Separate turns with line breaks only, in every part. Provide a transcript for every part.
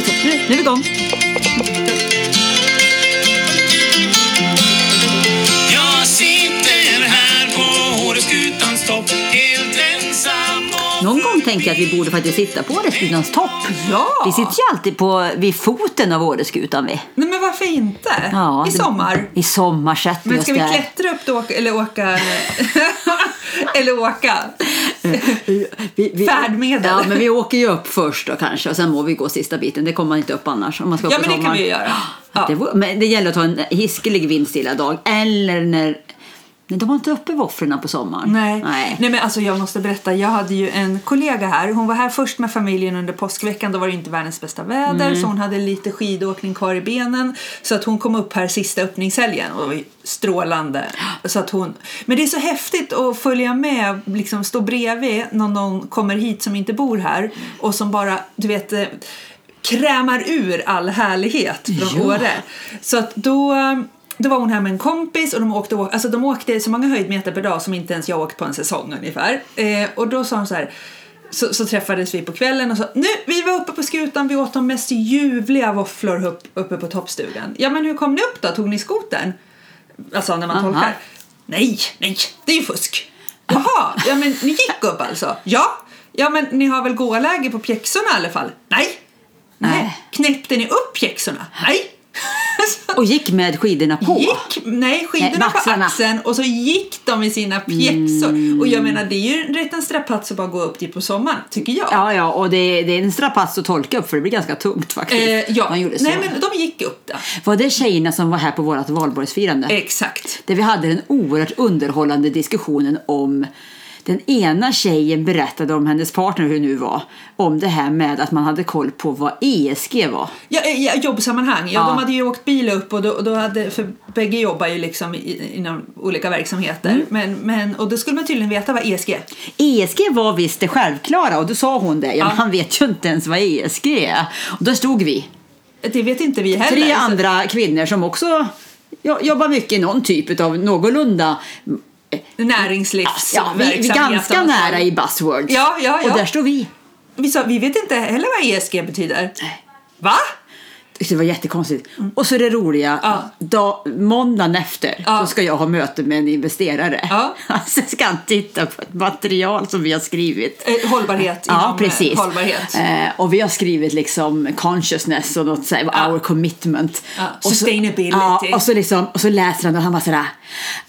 Nu, nu är vi igång.
Jag sitter här på Åreskutans topp helt ensam och
Någon gång tänkte jag att vi borde faktiskt sitta på Åreskutans topp.
Ja!
Vi sitter ju alltid på, vid foten av Åreskutan vi.
Nej, men varför inte?
Ja,
I
det-
sommar.
I sommarsätt
Men ska vi
just där.
klättra upp då, åka- eller åka? eller åka?
Vi- vi-
Färdmedel.
Ja, men vi åker ju upp först då kanske och sen må vi gå sista biten. Det kommer man inte upp annars om man ska
Ja,
upp på
men det kan
sommaren.
vi ju göra. Ja.
Det, vore- men det gäller att ha en hiskelig vindstilla dag eller när... Nej, de har inte uppe våfflorna på sommaren.
Nej.
Nej.
Nej, men alltså jag måste berätta. Jag hade ju en kollega här. Hon var här först med familjen under påskveckan. Då var det inte världens bästa väder
Mm.
så hon hade lite skidåkning kvar i benen. Så att hon kom upp här sista öppningshelgen och det var ju strålande. Så att hon... Men det är så häftigt att följa med, liksom stå bredvid någon, någon kommer hit som inte bor här och som bara, du vet eh, krämar ur all härlighet från
Ja.
Åre. Så att då, då var hon här med en kompis och de åkte, alltså de åkte så många höjdmeter per dag som inte ens jag åkt på en säsong ungefär. Eh, och då sa hon så här så, så träffades vi på kvällen och sa nu, vi var uppe på skutan, vi åt de mest ljuvliga våfflor upp, uppe på toppstugan. Ja men hur kom ni upp då? Tog ni skotern? Alltså när man
Aha.
tolkar. Nej, nej, det är ju fusk. Jaha, ja men ni gick upp alltså? Ja. Ja men ni har väl gåläge på pjäxorna i alla fall? Nej. Nej.
Nej.
Knäppte ni upp pjäxorna? Nej. Så
Och gick med skidorna på.
gick, nej, skidorna
Nej, med
på
axlarna.
axeln och så gick de i sina pjäxor.
Mm.
Och jag menar det är ju rätt en strapats att bara gå upp dit på sommaren, tycker jag.
Ja, ja, och det, det är en strapass att tolka upp för det blir ganska tungt faktiskt.
Eh, ja.
Man gjorde så.
Nej men de gick upp där.
Var det tjejerna som var här på vårt valborgsfirande?
Eh. Exakt.
där vi hade den oerhört underhållande diskussionen om den ena tjejen berättade om hennes partner, hur det nu var, om det här med att man hade koll på vad ESG var.
Ja, eh, ja, jobbsammanhang. Ja,
Ja.
De hade ju åkt bil upp och då, och då hade, för bägge jobbar ju liksom i, inom olika verksamheter.
Mm.
Men, men, och då skulle man tydligen veta vad E ESG är.
ESG E var visst det självklara och då sa hon det. Ja, men
Ja.
han vet ju inte ens vad ESG är. Och då stod vi,
Det vet inte vi heller.
tre
så-
andra kvinnor som också jo- jobbar mycket i någon typ av någorlunda
Alltså,
Ja, vi,
näringslivsverksamhet.
vi är ganska
om man säger.
nära i buzzwords.
Ja, ja, ja.
Och där står vi.
Vi sa vi vet inte heller vad ESG betyder.
Nej.
Va?
Det var jättekonstigt. Och så det roliga,
Mm. Ja.
dag, måndagen efter
Ja.
så ska jag ha möte med en investerare.
Ja.
Sen ska han titta på ett material som vi har skrivit.
Eh, Hållbarhet
Ja,
inom
precis.
eh, hållbarhet.
Eh, och vi har skrivit liksom consciousness och något såhär,
Ja.
our commitment.
Ja,
Och så-
sustainability.
Ja, och, så liksom, och så läser han och han bara sådär,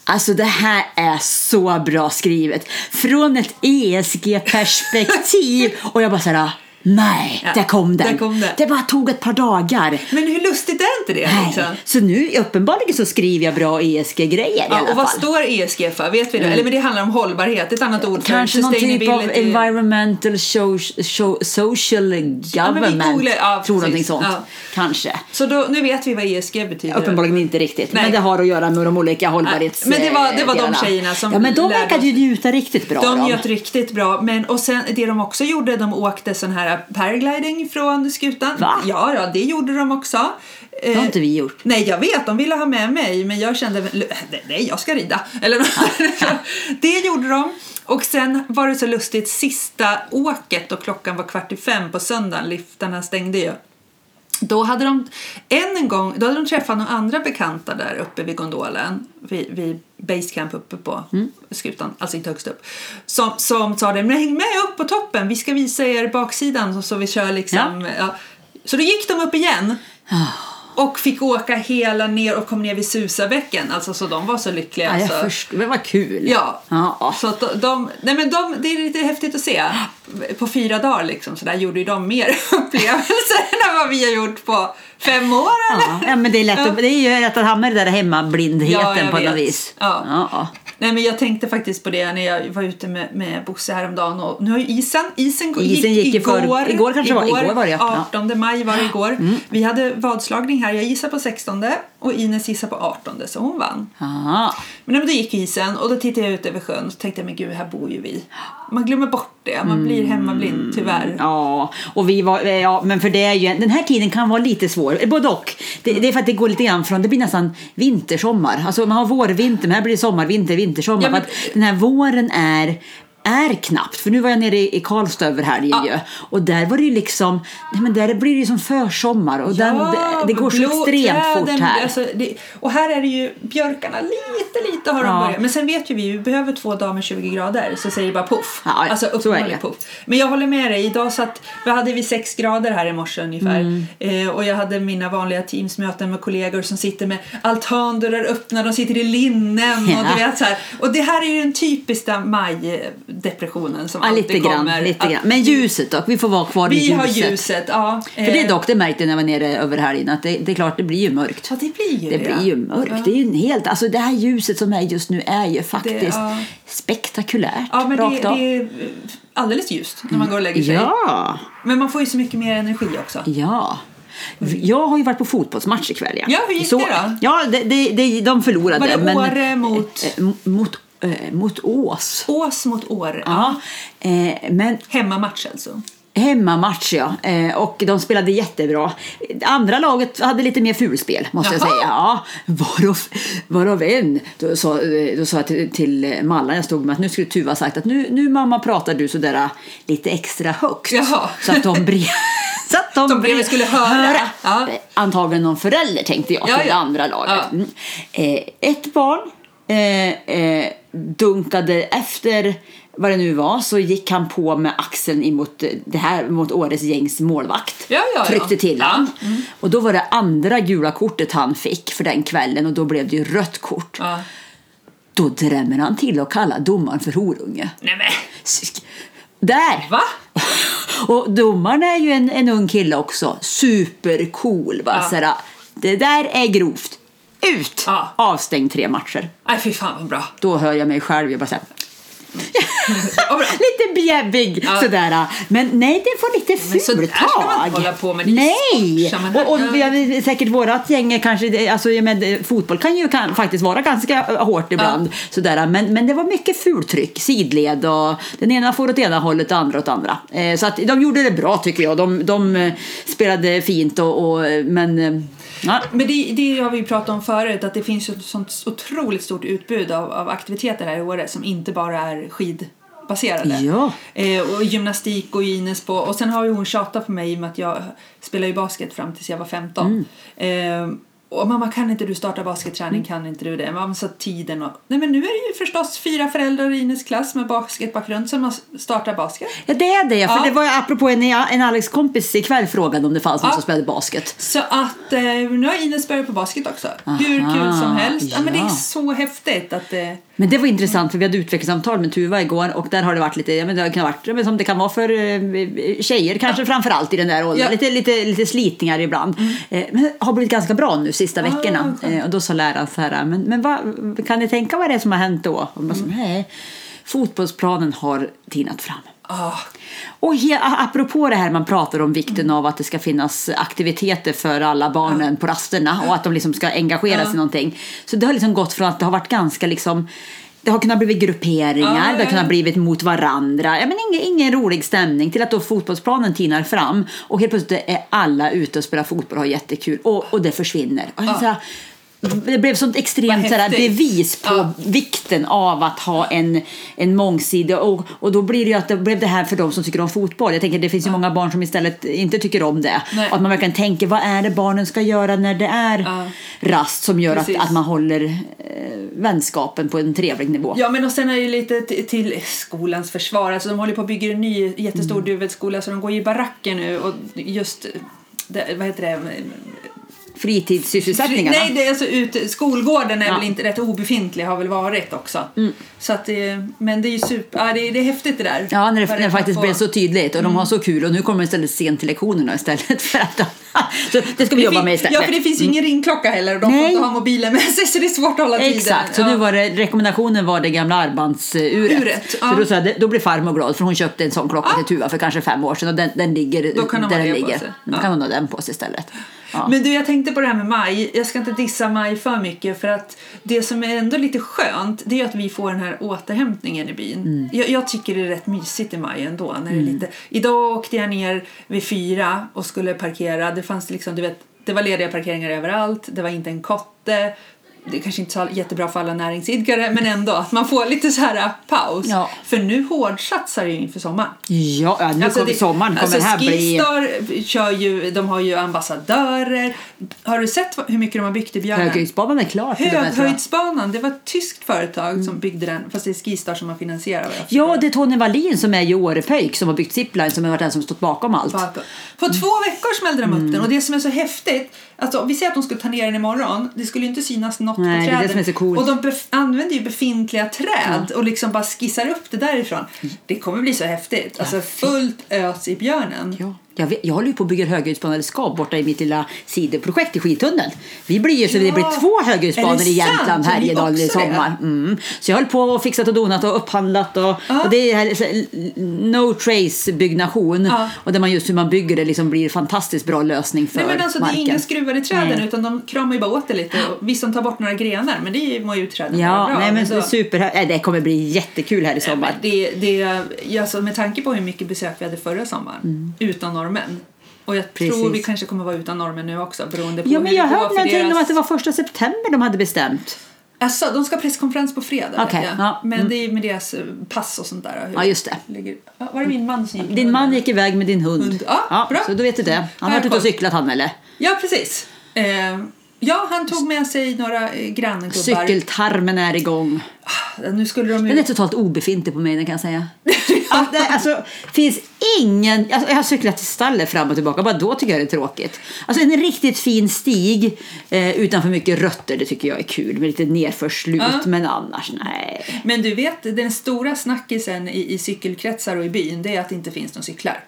alltså det här är så bra skrivet. Från ett E ESG-perspektiv. och jag bara sådär, nej,
Ja,
där, kom den.
där kom den.
Det bara tog ett par dagar.
Men hur lustigt är inte det? Liksom?
Nej. Så nu uppenbarligen så skriver jag bra ESG-grejer i
Ja,
alla
och vad
fall. Mm.
står ESG för? Vet vi det? Eller men det handlar om hållbarhet, ett annat ord för
Kanske någon typ av environmental so so social government.
googlar- ja,
tror någonting
precis.
sånt.
Ja.
Kanske.
Så då, nu vet vi vad ESG betyder.
Uppenbarligen inte riktigt.
Nej.
Men det har att göra med de olika hållbarhets...
Men det var- det var de
delarna.
tjejerna som
Ja, men de
lärde
verkade ju njuta riktigt bra.
De njöt riktigt bra. Men, och sen, det de också gjorde, de åkte sån här paragliding från skutan.
Va?
Ja, då, det gjorde de också. Eh,
Det har inte vi gjort.
Nej, jag vet. De ville ha med mig, men jag kände väl, nej, jag ska rida. Eller, något. det gjorde de. Och sen var det så lustigt, sista åket och klockan var kvart i fem på söndagen, liftarna stängde ju. Då hade de än en gång då hade de träffat några andra bekanta där uppe vid gondolen, vid, vid basecamp uppe på
Mm.
skutan, alltså inte högst upp, som, som sa det, men häng med upp på toppen, vi ska visa er baksidan så, så vi kör liksom. Ja. Så då gick de upp igen
Ah.
och fick åka hela ner och kom ner vid Susabäcken, alltså så de var så lyckliga. alltså.
Ja, jag
så.
förstår. Men vad kul.
Ja.
ja.
Så att de, de, nej men de, det är lite häftigt att se. På fyra dagar liksom, så där gjorde ju de mer upplevelser än vad vi har gjort på fem år. Eller?
Ja, ja, men det är lätt att, det är ju lätt att hamna i den där hemmablindheten
Ja, jag
på något
vet.
vis.
Ja.
Ja.
Nej, men jag tänkte faktiskt på det när jag var ute med, med Bosse häromdagen. Och nu har ju isen, isen,
Isen gick i för- igår kanske det var. Igår var det, ja. Mm.
18 maj var det igår. Vi hade vadslagning här. Jag gissade på 16 och Ines gissade på 18 så hon vann.
Ja.
Men när då gick isen och då tittade jag ut över sjön och tänkte jag, men gud här bor ju vi. Man glömmer bort det, man blir hemmablind tyvärr.
Ja, och vi var, eh, ja, men för det är ju, den här tiden kan vara lite svår, eh, både och. Det, det är för att det går lite grann från, det blir nästan vintersommar. Alltså man har vår, vinter, men här blir det sommar, vinter, vintersommar.
Ja, men-
För att den här våren är är knappt, för nu var jag nere i i Karlstad över helgen
Ja.
ju. Och där var det ju liksom, nej men där blir det ju som försommar och där, det, det går så
blå
extremt fort
träden,
här.
Alltså det, och här är det ju björkarna lite, lite har de
Ja.
börjat. Men sen vet ju vi, vi behöver två dagar med 20 grader så säger det bara poff.
Ja, ja,
alltså
så är
uppenbarligen
det.
poff. Men jag håller med dig, idag satt, vi hade vi 6 grader här i morse ungefär.
Mm.
Eh, och jag hade mina vanliga teamsmöten med kollegor som sitter med altandörrar öppna, de sitter i linnen och
Ja.
du vet så här. Och det här är ju den typiska majdepressionen som
Ja,
alltid
lite
kommer.
grann, lite
Att
grann. Men ljuset dock, vi får vara kvar i
vi
ljuset.
har ljuset, ja.
För det dock, det märkte jag när jag var nere över helgen, att det, det är klart det blir ju mörkt.
Ja, det blir
Det
ju
blir ju mörkt. Det är ju en helt, alltså det här ljuset som är just nu är ju faktiskt
ja.
spektakulärt.
Ja, men
rakt
det,
av.
det är alldeles ljust när man går och lägger sig.
Ja,
Men man får ju så mycket mer energi också.
ja. Jag har ju varit på fotbollsmatch ikväll. Ja,
Mm. Ja, hur gick
så,
det då?
Ja, det, det, det, de förlorade.
Var det
men,
Åre mot-
Eh, eh, mot, eh, mot Ås.
Ås mot år.
Ja, eh, men
Hemmamatch alltså.
Hemmamatch, ja. Eh, Och de spelade jättebra. Det Andra laget hade lite mer fulspel, måste jag
Jaha.
säga. Ja, varav, varav en. Då sa, eh, då sa jag till, till Mallan, jag stod med, att nu skulle Tuva ha sagt att nu, nu mamma pratar du sådär äh, lite extra högt.
Jaha.
Så att de brev... Så att de,
De bredvid skulle höra. Ja.
Eh, Antagligen någon förälder tänkte jag
Ja,
till det
ja.
andra laget.
Ja.
Mm. Eh, ett barn eh, eh, dunkade efter vad det nu var så gick han på med axeln emot, eh, det här, mot Åres gängs målvakt.
Ja, ja, ja.
Tryckte till
Ja. Mm.
han. Och då var det andra gula kortet han fick för den kvällen och då blev det ju rött kort.
Ja.
Då drämmer han till och kallar domaren för horunge.
Nej men,
Sk- Där!
va?
Och domaren är ju en, en ung kille också. Supercool. Va?
Ja.
Sådär, det där är grovt. Ut!
Ja.
Avstängd tre matcher.
Nej fy fan vad bra.
Då hör jag mig själv. Jag bara såhär,
Vad bra.
lite bjäbbig
Ja.
sådär. Men nej, det var lite
Men sådär
fult
ska man inte
tag.
hålla på med. Det är ju
Nej!
sportsammanhang.
Och, och vi
Ja.
har säkert vårat gäng är kanske, det- alltså, jag menar, fotboll kan ju kan, faktiskt vara ganska eh, hårt ibland. Sådär, men, men det var mycket fultryck, sidled och den ena får åt ena hållet och andra åt andra. Eh, så att de gjorde det bra tycker jag. De, de eh, spelade fint och, och eh, men eh, ja.
Men det, det har vi ju pratat om förut att det finns ju ett sånt otroligt stort utbud av, av aktiviteter här i Åre som inte bara är skidbaserade.
Ja.
Eh, och gymnastik och Ines på. Och sen har ju hon tjatat på mig i och med att jag spelar ju basket fram tills jag var 15.
Mm.
Eh, och mamma kan inte du starta basketträning, kan inte du det? Mamma sa tiden och... Nej men nu är det ju förstås fyra föräldrar i Ines klass med basketbakgrund som har startat basket.
Ja, det är det. För
Ja.
det var ju apropå en, en Alex kompis ikväll frågade om det fanns någon
Ja.
som spelade basket.
Så att eh, nu har Ines börjat på basket också. Hur kul som helst. Ja, men det
ja.
är så häftigt att eh, det...
Men det var intressant för vi hade utvecklingssamtal med Tuva igår och där har det varit lite, ja, men det kan ha varit ja, men som det kan vara för eh, tjejer kanske framför allt i den där åldern,
Ja.
lite, lite, lite slitningar ibland. Eh, men har blivit ganska bra nu sista veckorna. Eh, och då sa läraren så här, men, men vad, kan ni tänka vad det är som har hänt då? Och man sa, nej, fotbollsplanen har tinat fram.
Ah,
Och he- a- apropå det här man pratar om vikten av att det ska finnas aktiviteter för alla barnen på rasterna och att de liksom ska engagera sig i någonting. Så det har liksom gått från att det har varit ganska liksom det har kunnat blivit grupperingar,
Ja, ja,
det har
ja.
kunnat blivit mot varandra. Ja, men ingen, ingen rolig stämning till att då fotbollsplanen tinar fram och helt plötsligt är alla ute och spelar fotboll och har jättekul och, och det försvinner. Och så här, det blev sånt extremt
Vad
så här,
häftigt.
bevis på
Ja.
vikten av att ha en, en mångsidig och, och då blir det ju att det blev det här för de som tycker om fotboll. Jag tänker det finns ju många barn som istället inte tycker om det.
Nej.
Och att man verkligen tänker vad är det barnen ska göra när det är
Ja.
rast som gör att,
Precis.
att man håller eh, vänskapen på en trevlig nivå.
Ja, men och sen är det ju lite t- till skolans försvar. Alltså, de håller på att bygga en ny jättestor
Mm.
duvelskola så de går ju i baracker nu och just, det, vad heter det,
Fritidssysselsättningarna.
Nej, det är alltså ute, skolgården är
Ja. Mm.
väl inte rätt obefintlig, har väl varit också. Så att det, men det är ju super, ja, det, är, det är häftigt det där.
Ja, när det,
Vad
när det faktiskt
kan
blev
få- Mm.
så tydligt och de har så kul och nu kommer de istället sent till lektionerna istället för att de... Så det ska vi
Det
jobba
fin-
med istället. Mm.
Ja, för det finns ju ingen ringklocka heller och de får
Nej.
inte ha mobilen med sig så det är svårt att hålla tiden.
Exakt, så
ja.
nu var det, rekommendationen var det gamla armbandsuret.
Uret,
Så
ja.
då, sa jag, då blev farmor glad för hon köpte en sån klocka
Ja.
till Tuva för kanske fem år sedan och den, den ligger
Då kan hon
där
ha
den
det på
ligger.
sig.
Då
Ja.
kan hon ha den på sig istället. Ja.
Men du, jag tänkte på det här med maj. Jag ska inte dissa maj för mycket för att det som är ändå lite skönt det är att vi får den här återhämtningen i byn.
Mm.
Jag, jag tycker det är rätt mysigt i maj ändå. När det är lite... Idag åkte jag ner vid fyra och skulle parkera. Det fanns liksom, du vet, det var lediga parkeringar överallt. Det var inte en kotte. det är kanske inte så jättebra för alla näringsidkare, men ändå att man får lite så här äh, paus.
Ja.
För nu hårdsatsar det ju inför sommaren.
Ja, ja, nu
Alltså
kommer
det-
sommaren. Kommer
alltså
det här bli...
Skistar eh, kör ju, de har ju ambassadörer. Har du sett vad- hur mycket de har byggt i Björnen?
Höghöjdsbanan är klar till och med, tror jag.
Höghöjdsbanan, det var ett tyskt företag som
Mm.
byggde den, fast det är Skistar som har finansierat vad jag
Ja, det är Tony Wallin som är ju Årepöjk som har byggt Zipline som har varit den som stått bakom allt.
Bakåt. På
Mm.
två veckor smällde de upp den och det som är så häftigt, alltså vi säger att de skulle ta ner den imorgon, det skulle ju inte synas något
Nej, det
på
är
träden.
det som är så coolt.
Och de bef- använder ju befintliga träd och liksom bara skissar upp det därifrån. Det kommer bli så häftigt. Alltså fullt ös i björnen.
Ja, jag, vet, jag håller ju på att bygga höghöjdsbanor i Skab borta i mitt lilla sidoprojekt i skidtunneln. Vi blir ju så det
Ja.
blir två höghöjdsbanor
Är det
i Jämtland
sant? Är ni
Härjedalen i
också det?
sommar. Mm. Så jag höll på och fixat och donat och upphandlat och,
Ja.
och det är här, så här, no trace byggnation
Ja.
och där man just hur man bygger det liksom blir en fantastiskt bra lösning för
Nej, men alltså, det är
marken.
inga skruvar i träden
Nej.
utan de kramar ju bara åt det lite. Och visst, de tar bort några grenar, men det mår ju träden bara
Ja,
bra.
nej, men
ändå.
super, nej, det kommer bli jättekul här i sommar.
Men Det, det, ja, alltså, med tanke på hur mycket besök vi hade förra sommaren utan norrmän. Och jag tror
Mm. Precis.
vi kanske kommer vara utan norrmän nu också beroende på
Ja,
hur
men jag
det går
hörde
för
någonting
deras...
om att det var första september de hade bestämt.
Alltså, de ska ha presskonferens på fredag. vet
Okej,
jag.
ja, mm.
Men det är med deras eh, pass och sånt där. hur
Ja, just det.
ligger- Ja, Var det min man som gick?
Din man gick iväg med din hund.
Hund, ja, bra.
Så då vet du det. Han har varit ute och cyklat han eller?
Ja, precis. Eh, ja, han tog med sig några eh, granngubbar. Ah,
Cykeltarmen är igång.
Nu skulle de ju...
Den är totalt obefintlig på mig den kan jag säga. ja, det, alltså, finns ingen, alltså, jag har cyklat till stallet fram och tillbaka, bara då tycker jag det är tråkigt. Alltså en riktigt fin stig eh, utan för mycket rötter, det tycker jag är kul med lite nedförslut
Ja.
men annars nej.
Men du vet, den stora snackisen i, i cykelkretsar och i byn det är att det inte finns några cyklar.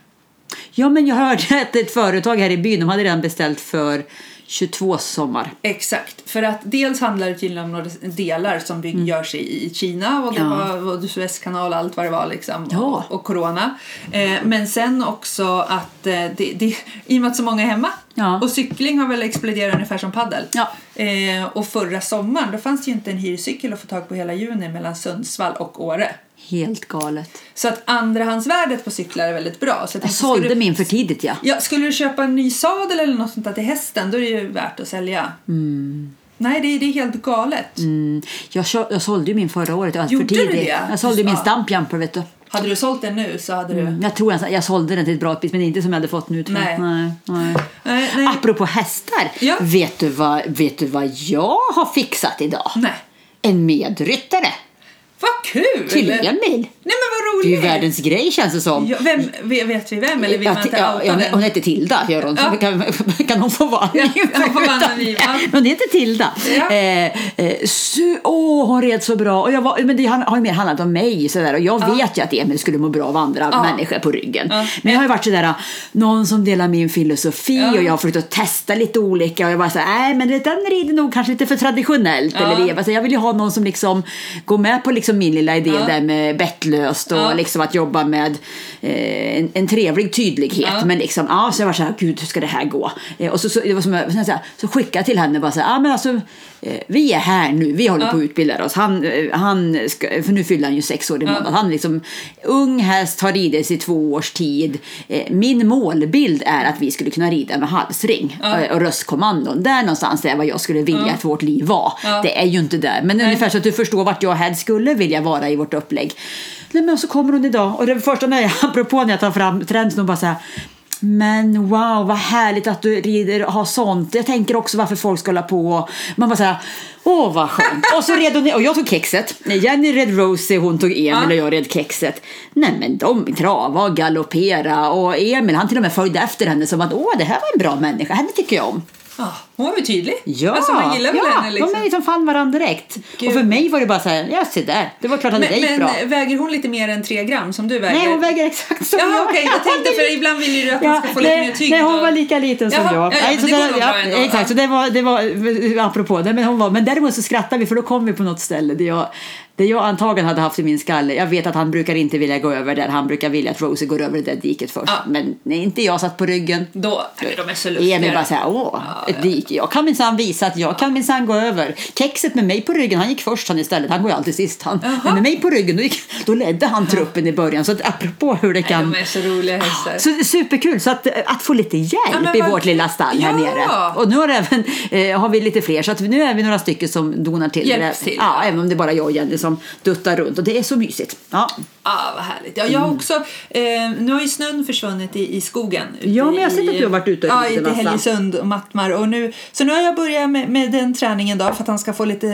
Ja men jag hörde att ett företag här i byn, de hade redan beställt för 22 sommar.
Exakt, för att dels handlar det tydligen om några delar som bygg, görs i, i Kina och det
Mm. Ja.
var och Suezkanal och allt vad det var liksom
Ja.
och, och corona. Eh, men sen också att eh, det, det, i och med att så många är hemma
Ja.
och cykling har väl exploderat ungefär som paddel.
Ja.
Eh, och förra sommaren då fanns det ju inte en hyrcykel att få tag på hela juni mellan Sundsvall och Åre.
Helt galet.
Så att andrahandsvärdet på cyklar är väldigt bra. Så att
Jag
inte Alltså, skulle-
sålde min för tidigt ja.
Ja, skulle du köpa en ny sadel eller något sånt där till hästen då är det ju värt att sälja. Nej, det är, det är helt galet.
Mm. Jag, kö- jag sålde ju min förra året, jag var
Gjorde
för tidigt.
du det?
Jag sålde ju min
Ja.
stampjumper vet du.
Hade du sålt den nu så hade du...
Mm, Jag tror jag, jag sålde den till ett bra pris men inte som jag hade fått nu tror jag.
Nej.
Nej, nej.
Nej, Eh, nej.
Apropå hästar,
Ja.
vet, du vad, vet du vad jag har fixat idag?
Nej.
En medryttare
Vad kul!
till Emil.
Nej men vad
Det är ju
roligt!
världens grej känns det som.
Ja, vem, ve- vet vi vem eller vill
Ja,
man inte
ja,
outa
ja, hon
den?
heter Tilda, gör hon.
Ja.
Kan, kan hon få vara
Ja,
anonym?
hon får vara anonym, ja.
Men Hon heter Tilda.
Ja.
Eh, eh, su- åh, hon red så bra. Och jag var, men det har har ju mer handlat om mig. Sådär. Och jag vet ju att Emil skulle må bra av andra
Ja.
människor på ryggen.
Ja.
Men jag har ju varit sådär, någon som delar min filosofi
Ja.
och jag har försökt att testa lite olika. Och jag bara såhär, nej men den rider nog kanske lite för traditionellt.
Ja.
Eller, alltså, jag vill ju ha någon som liksom går med på liksom min lilla idé
Ja.
där med bettlöst och
Ja.
liksom att jobba med eh, en, en trevlig tydlighet.
Ja.
Men liksom, ja, så jag var så här, gud hur ska det här gå? Eh, och så, så, det var som, jag- så, här, så skickade jag till henne bara så här, ja men alltså eh, vi är här nu, vi håller på att utbilda oss. Han, eh, han ska, för nu fyller han ju sex år i månad. Han är liksom ung häst, har ridits i två års tid. Eh, min målbild är att vi skulle kunna rida med halsring eh, och röstkommandon. Där någonstans är vad jag skulle vilja att vårt liv var.
Ja.
Det är ju inte där, men ungefär så att du förstår vart jag och Hed skulle vilja vara i vårt upplägg. Nej, men så kommer hon idag och det första när jag, apropå när jag tar fram trenden, hon bara så här men wow, vad härligt att du rider och har sånt. Jag tänker också varför folk ska hålla på. och- Man bara såhär, åh vad skönt. Och så red hon, och jag tog kexet. Jenny red Rosie, hon tog Emil
Ja.
och jag red kexet. Nej men de travade och galopperade och Emil han till och med följde efter henne som att åh det här var en bra människa, henne tycker jag om.
Ja, Ah, hon var väl tydlig?
Ja,
Alltså man gillar väl
ja
henne liksom?
de är liksom fann varandra direkt.
Gud.
Och för mig var det bara så här, ja se där, det var klart att det gick
men
bra.
men eh, väger hon lite mer än tre gram som du väger?
Nej, hon väger exakt som
Jaha,
jag.
okej, jag tänkte, för ibland vill ju du att man ska få lite
nej,
mer tyngd
Nej, hon
och-
var lika liten som
Jaha,
jag.
ja, ja,
nej,
men det går nog bra ändå.
Exakt,
Ja.
så det var, det var apropå det. Men hon var, men däremot så skrattade vi för då kom vi på något ställe där jag Det jag antagligen hade haft i min skalle, jag vet att han brukar inte vilja gå över där, han brukar vilja att Rosie går över det där diket först.
Ja.
Men nej, inte jag satt på ryggen.
Då, nej, de är så lustiga.
Emil bara såhär, åh,
Ja,
ett dike. Jag kan minsann visa att jag kan minsann gå över. Kexet med mig på ryggen, han gick först han istället. Han går ju alltid sist han. Men med mig på ryggen, då, gick, då ledde han truppen i början. Så att apropå hur det kan...
de är så roliga hästar.
Så det är superkul, så att, eh, att få lite hjälp
men
i
vad-
vårt lilla stall här
Ja!
nere. Och nu har, även, eh, har vi lite fler, så att nu är vi några stycken som donar till.
Hjälps
Det-
till,
Ja,
ja.
även om det är bara jag och Jenny som duttar runt. Och det är så mysigt. Ja,
Ah, vad härligt. Ja, jag
Mm.
har också, eh, nu har ju snön försvunnit i, i skogen. ute
Ja, men jag har sett
i-
att du har varit ute
Ja,
lite
ute i
massa.
Helgesund och Mattmar. Och nu, så nu har jag börjat med, med den träningen då, för att han ska få lite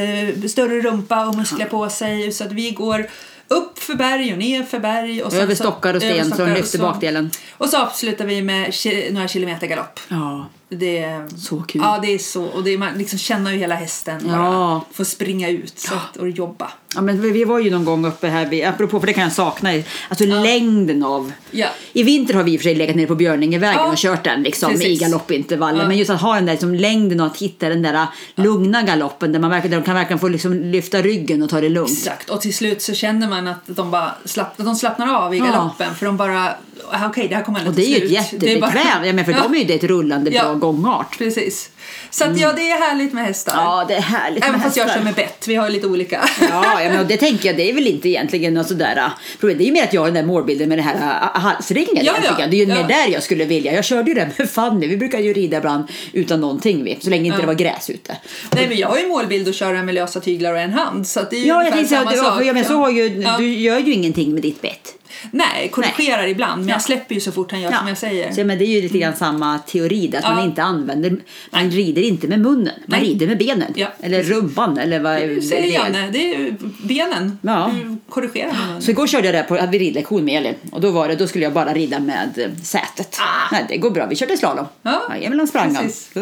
större rumpa och muskler på sig. Så att vi går upp för berg och ner för berg. Och sen
Över
så-
stockar och sten,
över
så de
stockar och
lyfter bakdelen.
Och så avslutar vi med ki- några kilometer galopp.
ja.
Det är
Så kul.
Ja, det är så. Och det är, man liksom känner ju hela hästen.
Ja.
Bara, får springa ut så att, och jobba.
Ja, men vi- vi var ju någon gång uppe här, vi, apropå för det kan jag sakna, alltså längden av...
Ja.
I vinter har vi i och för sig legat nere på Björningevägen
Ja.
och kört den liksom, i
Precis.
galoppintervaller.
Ja.
Men just att ha den där liksom, längden och att hitta den där lugna galoppen där man verkligen, där de kan verkligen få liksom, lyfta ryggen och ta det lugnt.
Exakt, och till slut så känner man att de bara slapp, de slappnar av i galoppen för de bara, "Ah, okej det här kommer aldrig
Och det är ju
ta
ett
slut." Det är bara-
jättebekvämt, ja, men för dem är ju det ett rullande
Ja.
bra gångart.
Precis. Så att, ja, det är härligt med hästar.
Ja, det är härligt
Även
med
fast jag
hästar.
kör med bett, vi har ju lite olika.
Ja, ja men och det tänker jag, det är väl inte egentligen något sådär äh, problem. Det är ju mer att jag har den där målbilden med den här äh, halsringen
Ja, ja,
egentligen. Det är ju
ja.
mer där jag skulle vilja. Jag körde ju det med Fanny, vi brukar ju rida ibland utan någonting vi, så länge inte det var gräs ute.
Nej, men jag har ju målbild att köra med lösa tyglar och en hand. Så att det är ju
Ja, jag
ungefär
tänkte att
samma
du,
sak.
ja, men så har ju,
Ja.
du gör ju ingenting med ditt bett.
Nej, korrigerar ibland, men
Ja.
jag släpper ju så fort han gör som jag säger. Mm.
Så, men det är ju lite grann samma teori, där, att
Ja.
man inte använder, man rider inte med munnen, man
Nej.
rider med benen.
Ja.
Eller rumpan eller vad
Du
det
säger
är.
Janne, det är ju benen.
Ja.
Du korrigerar honom.
Så igår körde jag det här på, hade vi ridlektion med Elin och då var det, då skulle jag bara rida med eh, sätet.
Ah.
Nej, det går bra, vi körde slalom.
Ja,
Emil han sprang han.
precis.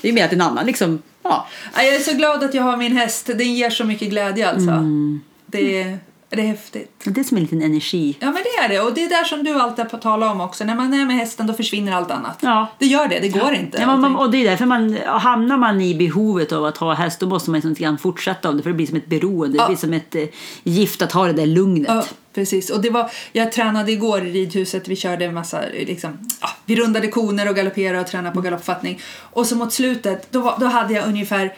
Det är ju mer att en annan liksom, ja.
Ja, Jag är så glad att jag har min häst. Den ger så mycket glädje alltså.
Mm.
Det, är, det är häftigt.
Det är som en liten energi.
Ja men det är det. Och det är där som du alltid har talat om också. När man är med hästen då försvinner allt annat.
Ja.
Det gör det. Det går inte.
Ja, man, man,
allting.
och det är därför man, hamnar man i behovet av att ha häst då måste man liksom lite grann fortsätta av det för det blir som ett beroende, det
Ja.
blir som ett eh, gift att ha det där lugnet.
Ja, precis. Och det var, jag tränade igår i ridhuset. Vi körde en massa, liksom, ja, vi rundade koner och galopperade och tränade på galoppfattning. Och så mot slutet, då, var, då hade jag ungefär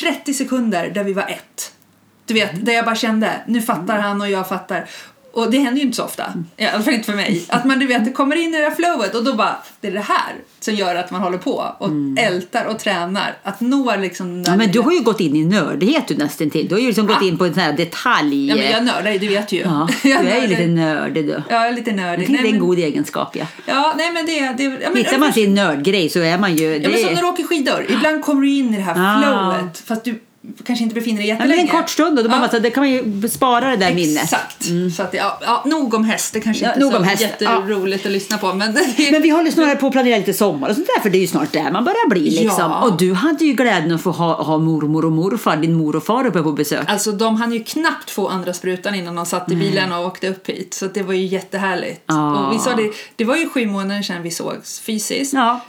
30 sekunder där vi var ett. Du vet,
Mm.
där jag bara kände, nu fattar han och jag fattar. Och det händer ju inte så ofta,
Mm.
i alla fall inte för mig. Att man du vet, det kommer in i det här flowet och då bara, det är det här som gör att man håller på och ältar och tränar. Att nå liksom den där
Mm. Ja, men du
lilla-
har ju gått in i nördighet du nästan till. Du har ju liksom gått in på en sån här detalj.
Ah. Ja, men jag nördar ju, du vet ju.
Ja, du
Jag
är ju
nördar-
lite nördig du.
Ja, jag är lite
Jag
nördig.
tycker det är
Nej,
en
men-
god egenskap ja.
Ja, nej men det... det ja, men,
Hittar man sin nördgrej så är man ju...
ja, men
det-
som när du åker skidor. Ibland kommer du in i det här
Ah.
flowet fast du kanske inte befinner dig
Ja, men
jättelänge.
en kort stund och då bara,
Ja,
så det kan man ju spara det där minnet.
Exakt. Så att, ja, ja, nog om häst. Det kanske
Mm. Ja, nog
inte är så
om häst.
jätteroligt att lyssna på. Men,
Men vi håller snarare på att planera lite sommar och sånt där för det är ju snart där man börjar bli liksom.
Ja.
Och du hade ju glädjen att få ha, ha mormor och morfar, din mor och far uppe på besök.
Alltså de hann ju knappt få andra sprutan innan de satt i bilen och åkte upp hit. Så att det var ju jättehärligt.
Ah.
Och vi sa det, det var ju sju månader sedan vi sågs fysiskt.
Ja. Mm.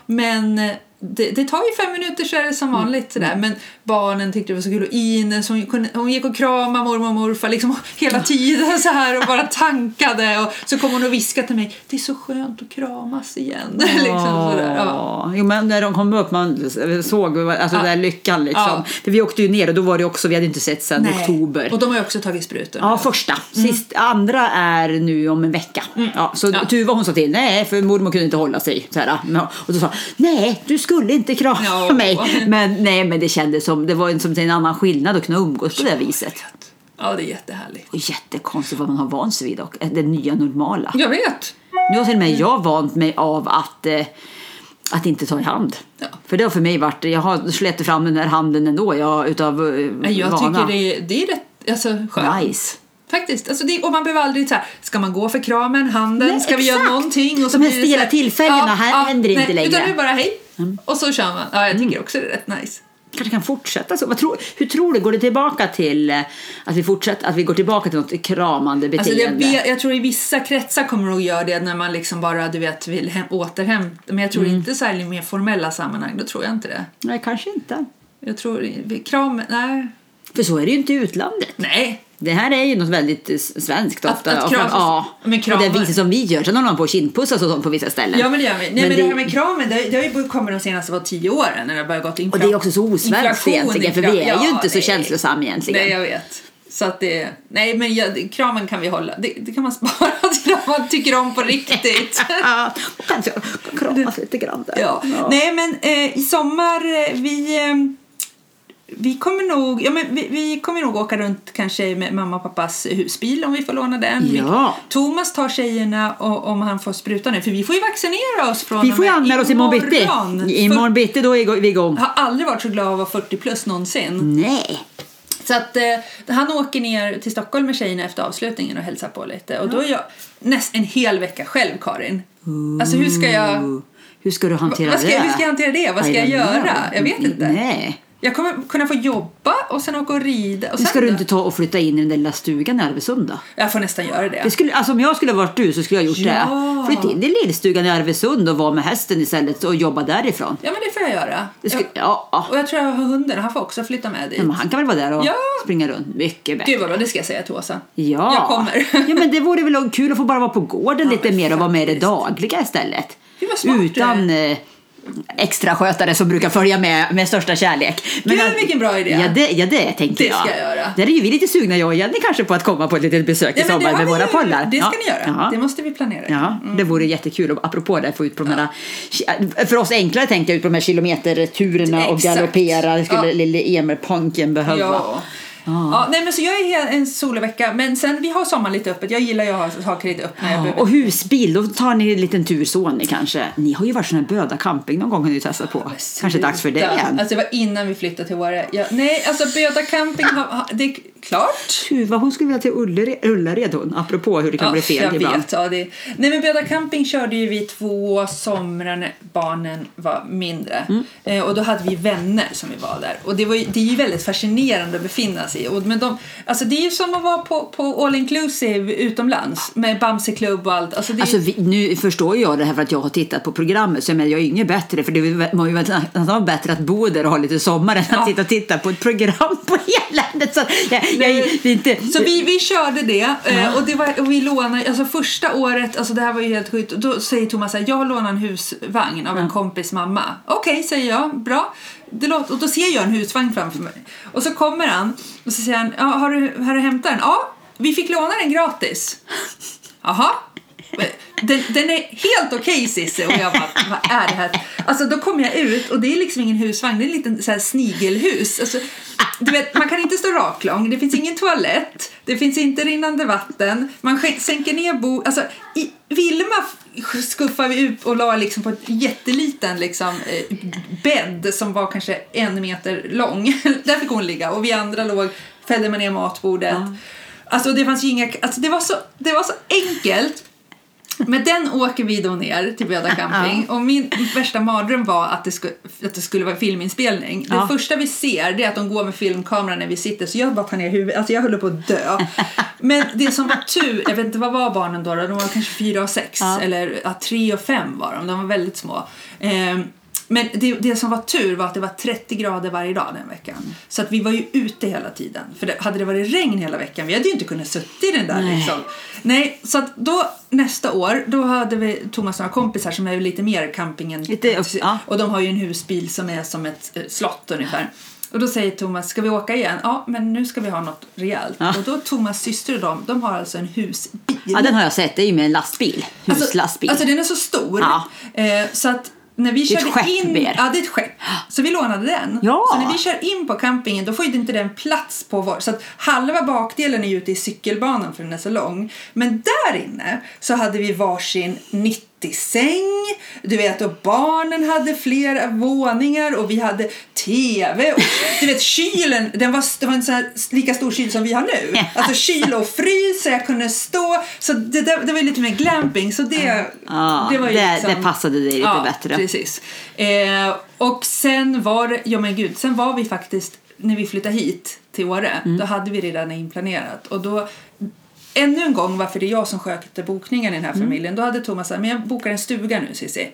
Men eh, det, det tar ju fem minuter så är det som vanligt. Sådär. Men barnen tyckte det var så kul och Ines hon, kunde- hon gick och kramade mormor och morfar liksom hela tiden så här och bara tankade. Och så kom hon och viskade till mig, det är så skönt att kramas igen. liksom sådär. Ja.
Ja. Jo, men när de kom upp man såg alltså,
Ja.
den där lyckan liksom.
Ja.
För vi åkte ju ner och då var det också, vi hade inte sett sedan
Nej.
oktober.
Och de har ju också tagit sprutor.
Ja, första. Sist, Andra är nu om en vecka. Ja, så
Mm. Ja.
Tuva hon sa till, nej, för mormor kunde inte hålla sig. Så här, ja. och då sa nej, du skulle inte krama
Ja.
mig. Men, nej, men det kändes som, det var en, som en annan skillnad att kunna umgås på det viset.
ja, det är jättehärligt.
Och jättekonstigt vad man har vant sig vid och eh, det nya normala.
Jag vet.
Nu har till och med jag vant mig av att eh, att inte ta i hand.
Ja.
För det har för mig varit, jag har släppt fram den här handen ändå, jag, utav eh,
Nej, Jag
vana.
tycker det, är- det är rätt alltså, skönt.
Nice.
Faktiskt. Alltså det, och man behöver aldrig så här, ska man gå för kramen, handen,
Nej,
ska vi göra
exakt.
någonting? Och så
De här
blir det så
stela tillfällena, här händer det inte längre. Mm.
Utan det är bara hej och så kör man. Ja, jag tycker också det är rätt nice.
kanske kan fortsätta så. Vad tror, hur tror du, går det tillbaka till eh, att vi, fortsätter, att vi går tillbaka till något kramande
Alltså
beteende?
jag, vet, jag tror i vissa kretsar kommer de att göra det när man liksom bara du vet, vill hem, återhämta. Men jag
Mm.
tror inte så här i mer formella sammanhang, då tror jag inte det.
Nej, kanske inte.
Jag tror, kram, nej.
För så är det ju inte i utlandet.
Nej,
Det här är ju något väldigt eh, svenskt
Att-
ofta.
att
Och
krav-
fram- ja,
men
på det
kramar.
viset som vi gör. Sen håller man på och kindpussas och sånt på vissa ställen.
Ja men det gör vi. Nej, men, det här med kramen det, det har ju kommit de senaste var tio åren när det har börjat gått infla-
Och det är också så osvenskt
inflation,
egentligen, för
infla-
vi är ju
Ja,
inte så
nej.
känslosam egentligen.
Nej jag vet. Så att det, nej men jag, kramen kan vi hålla, det, det kan man spara till om man tycker om på riktigt.
Ja, och kanske kramas lite grann där.
Ja. Nej, men eh, i sommar, eh, vi, eh, vi, kommer nog, ja, men vi, vi kommer nog åka runt kanske med mamma och pappas husbil om vi får låna den.
Ja.
Vi, Thomas tar tjejerna och, om han får spruta nu, för vi får ju vaccinera oss från
Vi
och
får ju
med
anmäla oss imorgon bitti. Imorgon
För-
bitti, då är vi igång.
Jag har aldrig varit så glad av att vara 40 plus någonsin.
Nej.
Så att eh, han åker ner till Stockholm med tjejerna efter avslutningen och hälsar på lite. Och då är jag näst en hel vecka själv, Karin. Alltså hur ska jag...
Hur ska du hantera
Vad ska,
det?
hur ska jag hantera det? Vad ska
I
jag
don't
göra?
know.
Jag vet inte.
Mm, Nej.
Jag kommer kunna få jobba och sen åka och rida. Och
Nu
sen
ska du
då?
inte ta och flytta in i den där lilla stugan i Arvesunda.
Jag får nästan göra det.
Det skulle, alltså om jag skulle ha varit du så skulle jag ha gjort
Ja.
det. Flytta in i lillstugan i Arvesund och vara med hästen istället och jobba därifrån.
Ja, men det får jag göra.
Det skulle,
jag,
ja. ja.
och jag tror jag har hunden. Han får också flytta med dit.
Men han kan väl vara där och
Ja.
springa runt. Mycket bättre.
Gud vad bra, det ska jag säga till Åsa.
Ja.
Jag kommer.
ja, men det vore väl kul att få bara vara på gården lite
men
mer och vara med i det
faktiskt.
dagliga istället.
Gud, vad smart
Utan
du
eh, extra skötare som brukar följa med med största kärlek.
Gud, vilken bra idé.
Ja, det, ja, det tänker
Det
jag.
ska jag göra.
Där är ju vi lite sugna, jag och Jenny, kanske på att komma på ett litet besök i
Nej, men det
sommar
har
med
vi
våra
ju-
pollar.
Det ska
Ja.
ni göra.
Ja.
Det måste vi Mm. planera.
Ja, det vore jättekul. Och apropå det, få ut på de här, för oss enklare tänker jag ut på de här kilometerturerna och
Exakt.
galoppera. Det skulle
Ja.
lille Emil Ponken behöva.
Ja. Ja, nej men så jag är he- en solovecka men sen vi har sommaren lite öppet. Jag gillar ju att ha saker lite öppna. Jag
Ja,
behöver-
och husbil, då tar ni en liten tur så ni kanske. Ni har ju varit sån här böda camping någon gång har ni testat på. Kanske dags för det
Sluta.
igen.
Alltså det var innan vi flyttade till Åre. Jag, nej, alltså Böda camping, har- har- det är klart.
Tuva, hon skulle vilja till Ullared, Ullared hon, apropå hur det kan bli fel
jag
ibland.
Vet, ja, det... Nej men Böda camping körde ju vi två somrar när barnen var mindre.
Mm.
Eh, och då hade vi vänner som vi var där. Och det, var ju, det är ju väldigt fascinerande att befinna sig i. Och, men de, alltså, det är ju som att vara på, på all inclusive utomlands med Bamseklubb och allt. Alltså, det är
Alltså, vi, nu förstår jag det här för att jag har tittat på programmet, så jag, menar, jag är ju inget bättre för det är ju vä- man är ju väl nästan bättre att bo där och ha lite sommar än
Ja.
att sitta och titta på ett program på eländet. Så jag, jag, är- det är inte,
Så vi, vi körde det eh, och, det var, och vi lånade, alltså första året, alltså det här var ju helt sjukt, Och då säger Thomas så här, jag lånar en husvagn av en kompis mamma. Okej, säger jag, bra. Det låter, och då ser jag en husvagn framför mig. Och så kommer han och så säger han, ja, har, du, har du hämtat den? Ja, vi fick låna den gratis. Jaha. Den, den är helt okej Cissi och jag bara, vad är det här? Alltså då kommer jag ut och det är liksom ingen husvagn, det är en liten så här snigelhus. Alltså, du vet, man kan inte stå raklång, det finns ingen toalett, det finns inte rinnande vatten, man sk- sänker ner bo... Alltså, i Vilma f- skuffar vi ut och la liksom på en jätteliten liksom, eh, bädd som var kanske en meter lång. Där fick hon ligga och vi andra låg, fällde man ner matbordet. Alltså det fanns ju inga, alltså det var så, det var så enkelt. Men den åker vi då ner till Böda camping och min värsta mardröm var att det, skulle, att det skulle vara filminspelning. Det
Ja.
första vi ser det är att de går med filmkameran när vi sitter så jag bara tar ner huvudet, alltså jag höll på att dö. Men det som var tur, jag vet inte vad var barnen då, då? de var kanske fyra och sex eller ja, tre och fem var de, de var väldigt små. Ehm, men det, det som var tur var att det var 30 grader varje dag den veckan. Så att vi var ju ute hela tiden. För det, hade det varit regn hela veckan, vi hade ju inte kunnat suttit i den där
Nej.
liksom. Nej, så att då nästa år, då hade vi Thomas några kompisar som är ju lite mer camping än...
Lite, ja.
Och de har ju en husbil som är som ett eh, slott ungefär. Och då säger Thomas, ska vi åka igen? Ja, men nu ska vi ha något rejält.
Ja.
Och då Thomas syster och de, de har alltså en husbil.
ja, den har jag sett, det är ju med en lastbil, huslastbil.
Alltså, alltså den är så stor.
Ja.
Eh, så att när vi
Det är ett
körde
skepp
in...
mer.
Ja, det är ett skepp. Så vi lånade den.
Ja.
Så när vi kör in på campingen då får ju inte den plats på vår... Så att halva bakdelen är ju ute i cykelbanan för den är så lång. Men där inne så hade vi varsin 90-säng. Du vet, och barnen hade flera våningar och vi hade TV. Och, du vet, kylen, den var, det var en sån här lika stor kyl som vi har nu. Alltså kyl och frys, så jag kunde stå. Så det, där, det var ju lite mer glamping. Så det, liksom-
Ja, det- det passade dig lite
ja,
bättre.
Precis. Eh, och sen var det- ja men gud, sen var vi faktiskt, när vi flyttade hit till Åre,
Mm.
då hade vi redan inplanerat. Och då, ännu en
Mm.
gång varför det är jag som sköter bokningen i den här familjen, då hade Thomas sagt, men jag bokar en stuga nu Cissi.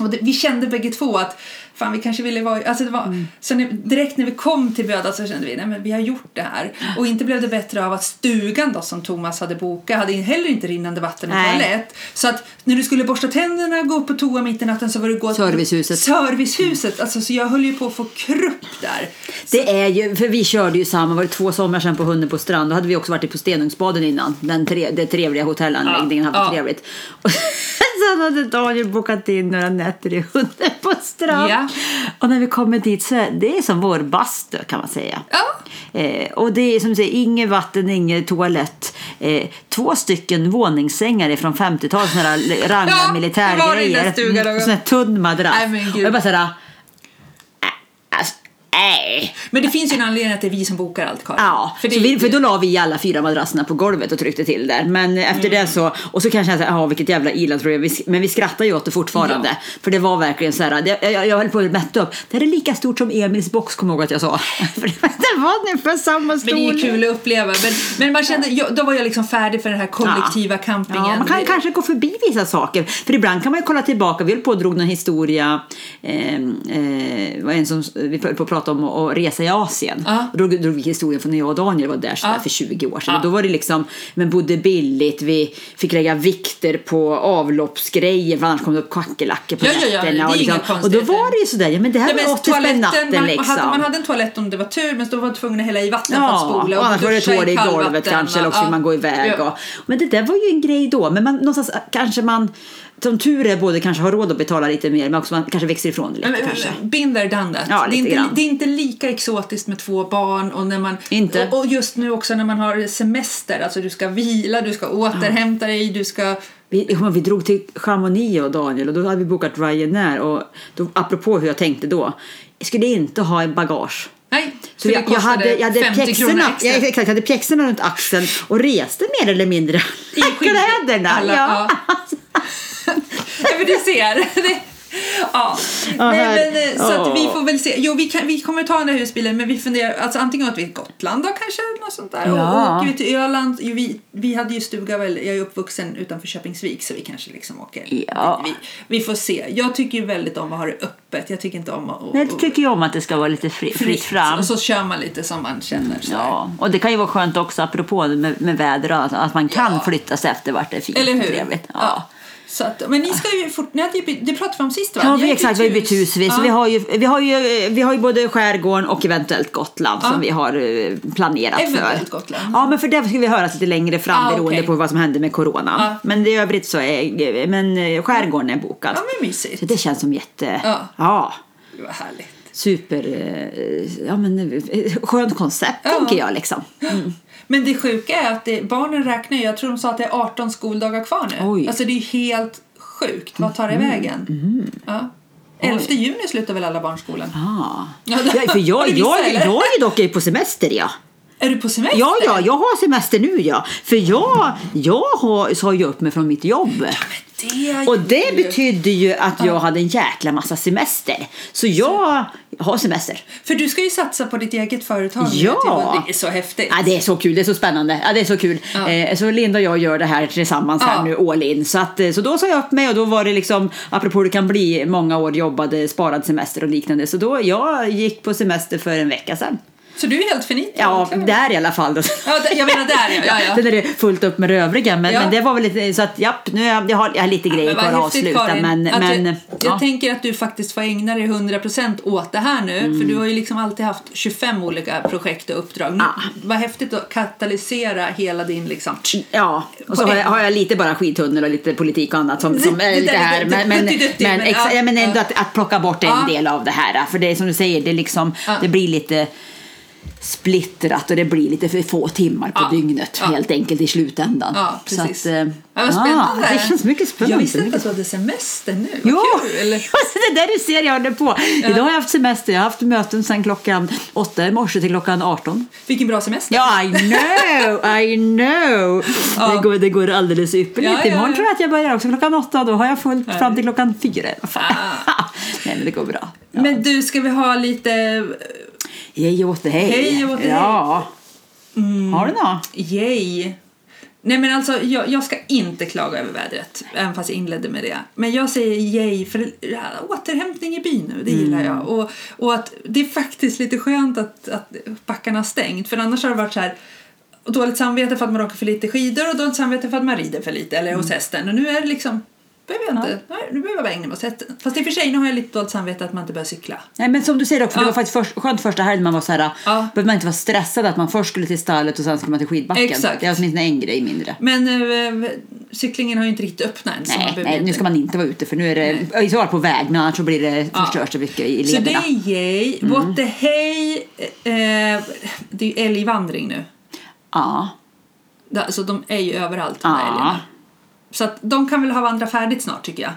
Och det, vi kände bägge två att fan, vi kanske ville vara... Alltså det var,
Mm.
så när, direkt när vi kom till Böda så kände vi nej men vi har gjort det här.
Mm.
Och inte blev det bättre av att stugan då, som Thomas hade bokat hade heller inte rinnande vatten och
Nej.
toalett. Så att när du skulle borsta tänderna och gå upp på toa mitt i natten så var det gå...
Servicehuset.
Servicehuset! Alltså, så jag höll ju på att få krupp där.
Det är ju, för vi körde ju samma, var det två somrar sedan på Hunden på strand. Då hade vi också varit på Stenungsbaden innan. Den tre, det trevliga hotellanläggningen
Ja,
hade
ja.
trevligt. Och sen hade Daniel bokat in några nätter i Hunden på strand.
Ja.
Och när vi kommer dit så är det är som vår bastu kan man säga.
Ja.
Eh, och det är som du säger, inget vatten, inget toalett. Eh, två stycken våningssängar från 50-talet, sådana där ranga
Ja, det var det i den
militärgrejer.
stugan
Mm,
då.
sån här tunn madrass.
Nej, men gud.
Och jag bara såhär, alltså, nej.
Men det finns ju en anledning att det är vi som bokar allt Karin.
Ja,
För
för,
det,
vi, för då la vi alla fyra madrasserna på golvet och tryckte till där. Men efter
Mm.
det så, och så kanske jag såhär, ja vilket jävla iland tror jag. Vi sk- Men vi skrattar ju åt det fortfarande. För det var verkligen så här, det, jag, jag höll på att mätta upp. Det här är lika stort som Emils box, kommer jag ihåg att jag sa. för det var- det var ungefär samma
men det är
storlek.
kul att uppleva. Men, men man kände, jag, då var jag liksom färdig för den här kollektiva campingen.
Ja, man kan
Det-
kanske gå förbi vissa saker. För ibland kan man ju kolla tillbaka. Vi höll på och drog någon historia. Eh, eh, var en som, vi höll på att prata om att resa i Asien.
Ja.
Och då drog vi historien från när jag och Daniel var där sådär
Ja.
för 20 år sedan.
Ja.
Och då var det liksom, men bodde billigt. Vi fick lägga vikter på avloppsgrejer för annars kom det upp kackerlackor på
Ja, ja, ja, det är
och, liksom.
inga
och då
konstigheter.
var det ju sådär, ja men det här var 80 spänn natten
man,
liksom.
hade, man hade en toalett om det var tur men då var man tvungen att hälla i vatten för att spola.
och annars var det
duscha
tår i
kallvatten
golvet kanske,
och-
eller också fick
ja.
man gå iväg.
Ja.
Och, men det där var ju en grej då. Men man, någonstans äh, kanske man, som tur är, både kanske har råd att betala lite mer, men också man kanske växer ifrån det lite
Men, men,
kanske.
Been there, done that.
Ja, lite
det, är inte,
grann.
det är inte lika exotiskt med två barn och, när man,
Inte.
och, och just nu också när man har semester, alltså du ska vila, du ska återhämta dig, du ska...
Vi, jag kommer ihåg, vi drog till Chamonix jag och Daniel och då hade vi bokat Ryanair och då, apropå hur jag tänkte då, jag skulle inte ha en bagage.
Nej,
Så
för
jag,
det
jag,
kostade
hade, jag, hade
50
pjäxorna,
kronor
jag,
extra.
exakt, jag hade pjäxorna runt axeln och reste mer eller mindre i
skid-
kläderna.
alla- Nej, men du ser. Det- Ja.
Ja, här-
Nej, men, eh, så
ja.
att vi får väl se. Jo, vi, kan, vi kommer ta den där husbilen, men vi funderar alltså, antingen åt vi Gotland då kanske, eller något sånt där.
Ja.
Och åker vi till Öland. Jo, vi, vi hade ju stuga, väl, jag är uppvuxen utanför Köpingsvik, så vi kanske liksom åker.
Ja.
dit. Vi, vi får se. Jag tycker ju väldigt om att ha det öppet. Jag tycker inte om att...
Nej, det tycker jag om att det ska vara lite fri, fritt fram.
Och så kör man lite som man känner. Så här.
Ja, och det kan ju vara skönt också apropå med, med väder och allt, att man kan
Ja.
flytta sig efter vart det är fint
Eller
och
hur?
trevligt. Ja.
Så att, men ni ska ju fort, ni hade ju, bytt- det pratade vi om sist va?
Ja,
Ni
vi,
har typ
exakt, vi har ju bytt hus. Vi, så
Ja.
vi, har ju, vi, har ju, vi har ju både skärgården och eventuellt Gotland
Ja.
som vi har eh, planerat
Eventuellt
för.
Gotland.
Ja, men för det ska vi höras lite längre fram
Ah,
beroende
okej. Ah.
på vad som händer med corona.
Ja.
Men i övrigt så är men eh, skärgården är bokad.
Ja, men mysigt.
Så det känns som jätte...
Ja.
ja
Det var härligt.
super... eh, Ja, men eh, skönt koncept
Ja.
tänker jag liksom.
Men det sjuka är att det, barnen räknar ju, jag tror de sa att det är 18 skoldagar kvar nu.
Oj. Mm.
Alltså det är ju helt sjukt. Vad tar det vägen? Ja. 11 juni slutar väl alla barn skolan?
Ah.
Ja,
Ja,
det-
för jag,
Har du
jag,
missat,
jag,
eller?
är dock på semester ja.
Är du på semester?
Ja, ja, jag har semester nu ja. För jag, jag har, sa ju upp mig från mitt jobb.
Men det är ju-
Och det betydde ju att jag hade en jäkla massa semester. Så jag har semester.
För du ska ju satsa på ditt eget företag. nu,
Ja.
Typ, och det är så häftigt.
Ja, det är så kul, det är så spännande. Ja, det är så kul.
Ja.
Eh, så Linda och jag gör det här tillsammans
Ja.
här nu all in. Så, att, eh, så då sa jag upp mig och då var det liksom, apropå det kan bli många år jobbade, sparad semester och liknande. Så då, jag gick på semester för en vecka sedan.
Så du är helt finit?
Ja, där i alla fall. Då.
Ja, där- jag menar där, ja, ja, ja.
Sen är det fullt upp med det övriga. Men,
Ja.
men det var väl lite, så att japp, nu är jag, jag har, jag har lite grejer
Men vad
kvar att
häftigt,
avsluta.
Karin,
Men,
att
men
du,
ja.
Jag tänker att du faktiskt får ägna dig 100% åt det här nu. För du har ju liksom alltid haft 25 olika projekt och uppdrag. Nu,
Ah.
Vad häftigt att katalysera hela din liksom...
Ja, och så har jag, har jag lite bara skittunnel och lite politik och annat som, som
Det- det
är
där
lite
är
här.
lite
Men, men, men,
duttidutti, men
exa-
ja,
ja, men
ja.
ändå att, att plocka bort en
Ja.
del av det här. För det är som du säger, det, är liksom,
Ja.
det blir lite splittrat och det blir lite för få timmar på
Ja.
dygnet
Ja.
helt enkelt i slutändan.
Ja,
så
precis.
att, eh,
ja, vad spännande.
ja, det känns mycket spännande.
Jag visste
mycket
inte att du hade semester nu. Vad
Jo,
kul! Eller?
alltså det där du ser jag håller på. Idag har jag haft semester. Jag har haft möten sedan klockan åtta i morse till klockan 18.
Vilken bra semester.
Ja, I know, I know. Det, går, det går alldeles ypperligt.
Ja, ja,
Imorgon
ja.
tror jag att jag börjar också klockan åtta. Då har jag fullt fram till klockan fyra. Nej, men det går bra. Ja.
Men du, ska vi ha lite...
Hej åt dig.
Hej Mm. åt dig.
Ja. Har du något?
Yay! Nej men alltså, jag, jag ska inte klaga över vädret, även fast jag inledde med det. Men jag säger yay för ja, återhämtning i byn nu, det gillar
Mm.
jag. Och, och att det är faktiskt lite skönt att, att backarna har stängt, för annars har det varit så här och dåligt samvete för att man åker för lite skidor och dåligt samvete för att man rider för lite, eller
Mm.
hos hästen. Och nu är det liksom, behöver jag inte, nej, nu behöver jag bara ägna mig åt hästen. Fast i och för sig, nu har jag lite dåligt samvete att man inte börjar cykla.
Nej men som du säger också, för det
Ja.
var faktiskt först, skönt första helgen man var så här,
Ja.
behövde man inte vara stressad att man först skulle till stallet och sen skulle man till skidbacken.
Exakt.
Det är åtminstone en grej mindre.
Men eh, cyklingen har ju inte riktigt öppnat än. så man
Nej,
behöver
nej,
inte-
nu ska man inte vara ute för nu är det i så fall på väg men annars så blir det
Ja.
förstörs det mycket i
Så det
lederna. Mm.
är yay. What the hey. Eh, det är ju älgvandring nu.
Ja.
Det- Alltså de är ju överallt de där
ja.
älgarna. Så att de kan väl ha vandrat färdigt snart tycker jag.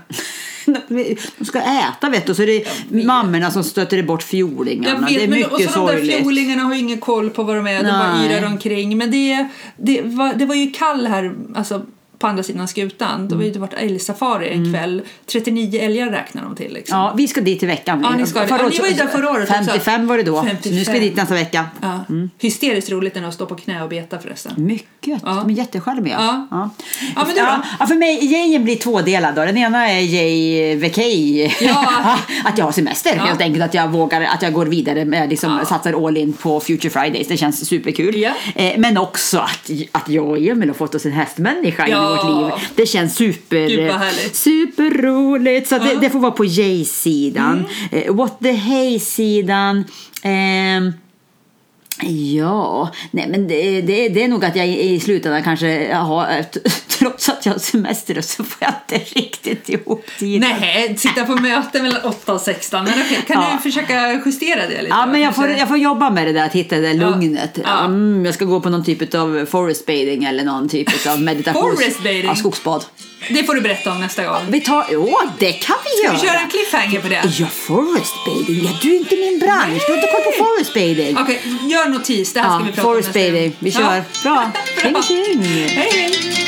De ska äta vet du så det är mammorna som stöter bort
Jag
fjolingarna. det är
men-
mycket
och så de där
sorgligt.
fjolingarna har ju ingen koll på vad de är. De bara
Nej.
yrar omkring. Men det, det, var, det var ju kall här alltså, på andra sidan skutan.
Mm.
Det var ju det varit älgsafari en kväll. 39 älgar räknar de till liksom.
Ja, vi ska dit i veckan.
Ja, ni ska det. Ja, ni var ju där förra året också.
55 var det då. Så nu ska vi
55.
dit nästa vecka. Mm.
Ja. Hysteriskt roligt när de står på knä och betar förresten.
Mycket.
Ja.
De är jättecharmiga.
Ja.
Ja.
Ja, men du då?
ja, ja, för mig, jayen blir tvådelad. Då. Den ena är jay vacay.
Ja.
att jag har semester
Ja.
helt enkelt. Att jag vågar, att jag går vidare med, liksom,
Ja.
satsar all in på Future Fridays. Det känns superkul.
Ja.
Eh, men också att, att jag och Emil har fått oss en hästmänniska in i
Ja.
vårt liv. Det känns super,
Gud, vad härligt.
superroligt. Så att det, det får vara på jay-sidan.
Mm.
Eh, what the hey-sidan. Ehm, Ja, nej men det, det, det är nog att jag i, i slutändan kanske har, trots att jag har semester så får jag inte riktigt ihop tiden.
Nej, sitta på möte mellan 8 och 16. Men okej, kan
Ja.
du försöka justera det lite?
Ja,
då,
men jag får,
kanske?
jag får jobba med det där att hitta det där lugnet.
Ja.
Mm, jag ska gå på någon typ av forest bathing eller någon typ av meditation.
Forest bathing?
Ja, skogsbad.
Det får du berätta om nästa gång.
Vi tar, åh, det kan vi
Ska
göra!
vi köra en cliffhanger på det?
Ja, forest bathing. Ja, du är inte min bransch. Du har inte koll på forest bathing.
Okej, gör notis. Det här ska
Ja,
vi prata om
forest
nästa gång.
bathing. Vi
Ja.
kör. Bra. Tjing tjing.
Hej!